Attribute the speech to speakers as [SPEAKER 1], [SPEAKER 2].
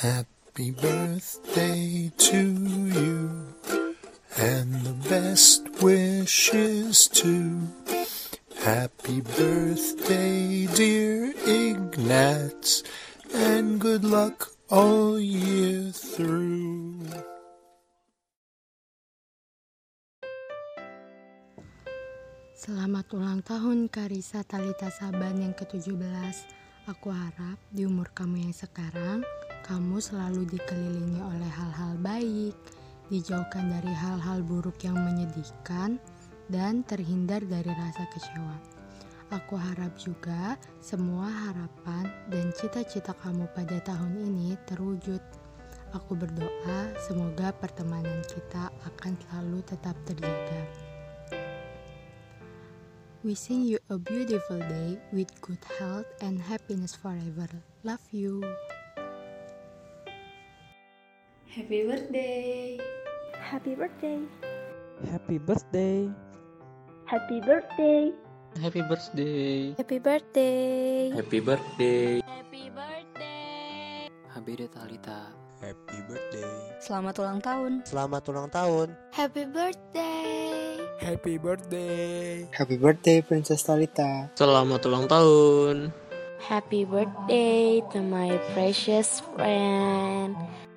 [SPEAKER 1] Happy birthday to you, and the best wishes too. Happy birthday, dear Ignatz, and good luck all year through.
[SPEAKER 2] Selamat ulang tahun Karisa Talita Saban yang ke-17. Aku harap di umur kamu yang sekarang, kamu selalu dikelilingi oleh hal-hal baik, dijauhkan dari hal-hal buruk yang menyedihkan, dan terhindar dari rasa kecewa. Aku harap juga semua harapan dan cita-cita kamu pada tahun ini terwujud. Aku berdoa semoga pertemanan kita akan selalu tetap terjaga. Wishing you a beautiful day with good health and happiness forever. Love you.
[SPEAKER 3] Happy birthday.
[SPEAKER 4] Happy birthday.
[SPEAKER 5] Happy birthday.
[SPEAKER 4] Happy birthday.
[SPEAKER 6] Happy birthday.
[SPEAKER 4] Happy birthday.
[SPEAKER 6] Happy birthday.
[SPEAKER 7] Happy birthday.
[SPEAKER 6] HBD Talita.
[SPEAKER 8] Happy birthday.
[SPEAKER 9] Selamat ulang tahun.
[SPEAKER 10] Selamat ulang tahun.
[SPEAKER 7] Happy birthday.
[SPEAKER 8] Happy birthday.
[SPEAKER 11] Happy birthday Princess Talita.
[SPEAKER 6] Selamat ulang tahun.
[SPEAKER 7] Happy birthday to my precious friend.